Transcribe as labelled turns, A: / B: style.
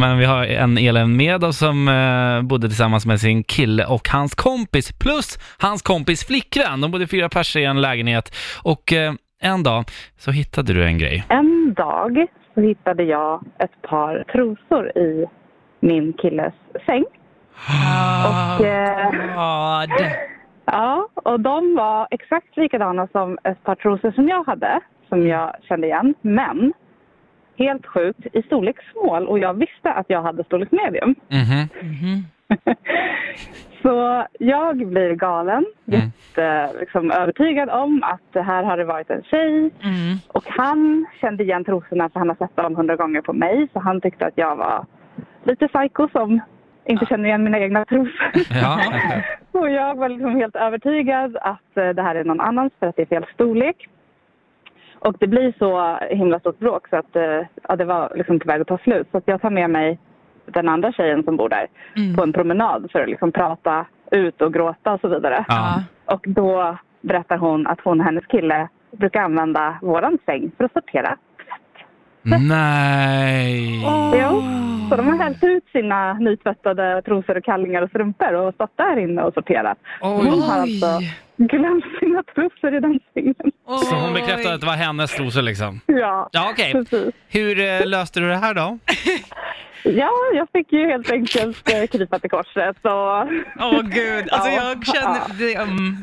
A: Men vi har en Elin med oss som eh, bodde tillsammans med sin kille och hans kompis plus hans kompis flickvän. De bodde fyra personer i en lägenhet och eh, en dag så hittade du en grej.
B: En dag så hittade jag ett par trosor i min killes säng. Och, eh,
C: God.
B: ja, och de var exakt likadana som ett par trosor som jag hade, som jag kände igen. Men helt sjukt i storlek small och jag visste att jag hade storlek medium.
A: Mhm.
B: Så jag blir galen,
A: Mm.
B: jätte, liksom, övertygad om att det här har det varit en tjej.
C: Mm.
B: Och han kände igen trosorna för han har sett dem hundra gånger på mig. Så han tyckte att jag var lite psycho som inte känner igen mina egna trosor.
A: Ja.
B: Och jag var liksom helt övertygad att eh, det här är någon annans för att det är fel storlek. Och det blir så himla stort bråk så att eh, ja, det var liksom på väg att ta slut. Så att jag tar med mig den andra tjejen som bor där på en promenad för att liksom prata ut och gråta och så vidare.
A: ja.
B: Och då berättar hon att hon och hennes kille brukar använda våran säng för att sortera.
A: Nej.
B: Jo. Så de har hällt ut sina nytvättade trosor och kallingar och strumpor och stått där inne och sorterat. Hon har alltså glömt sina trosor i den sängen.
A: Så hon bekräftade att det var hennes trosor liksom.
B: Ja,
A: Ja, okej.
B: precis.
A: Hur eh, löste du det här då?
B: Ja, jag fick ju helt enkelt eh, krypa till korset. Så...
C: Åh gud, alltså
B: Ja.
C: jag känner... Det, mm.